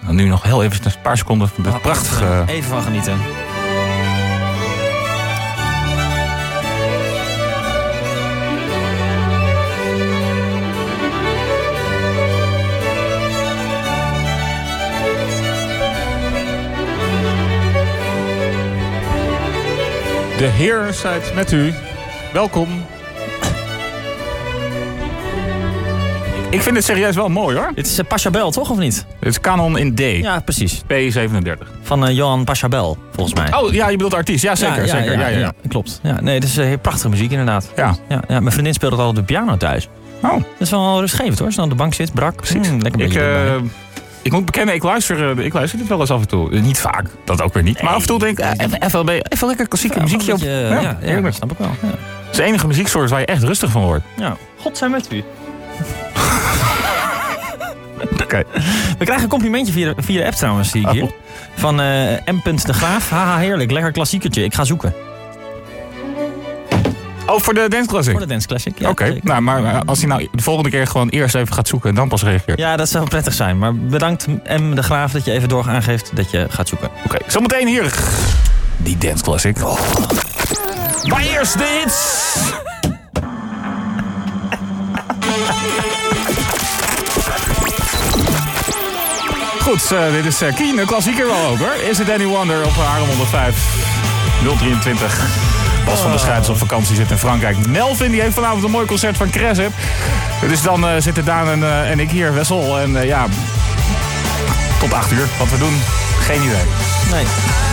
Nou, nu nog heel even een paar seconden van dit Ah, prachtige... Even van genieten. De Heer zijt met u. Welkom. Ik vind het serieus wel mooi hoor. Dit is eh, Pachabel, toch of niet? Het is Canon in D. Ja, precies. P37. Van eh, Johan Pachabel, volgens mij. Oh ja, je bedoelt artiest. Ja, zeker. ja, zeker. Ja, ja, ja. Klopt. Ja, nee, het is eh, prachtige muziek inderdaad. Ja. Ja, ja, mijn vriendin speelde het al op de piano thuis. Oh, Dat is wel rustgevend hoor. Als je dan op de bank zit, brak. precies. Mm, lekker een ik, beetje erbij. eh, ik moet bekennen, ik luister, eh, ik luister dit wel eens af en toe. Eh, Niet vaak, dat ook weer niet. Maar af en toe denk ik, eh, even, even, wel- even lekker klassieke Ja, muziekje een op. beetje, eh, Ja, ja, ja, heerlijk. dat snap ik wel. Ja. Het is de enige muzieksoort waar je echt rustig van wordt. ja. God zijn met u. Oké. We krijgen een complimentje via de, via de app trouwens, zie ik Oh. hier. Van eh, M. De Graaf. Haha, heerlijk. Lekker klassiekertje. Ik ga zoeken. Oh, voor de dance classic. Voor de Dance Classic. Ja, Oké, zeker. nou, maar eh, als hij nou de volgende keer gewoon eerst even gaat zoeken en dan pas reageert. Ja, dat zou prettig zijn. Maar bedankt M. De Graaf dat je even door aangeeft dat je gaat zoeken. Oké, zometeen hier. Die dance classic. Maar eerst de hits. Goed, eh, dit is eh, Keen, een klassieker wel ook hoor. Is it any wonder op Haarlem 105 023. Bas van der Schuijts op vakantie zit in Frankrijk. Melvin die heeft vanavond een mooi concert van Cressip. Dus dan eh, zitten Daan en, eh, en ik hier, Wessel. En eh, ja, tot 8 uur. Wat we doen, geen idee. Nee.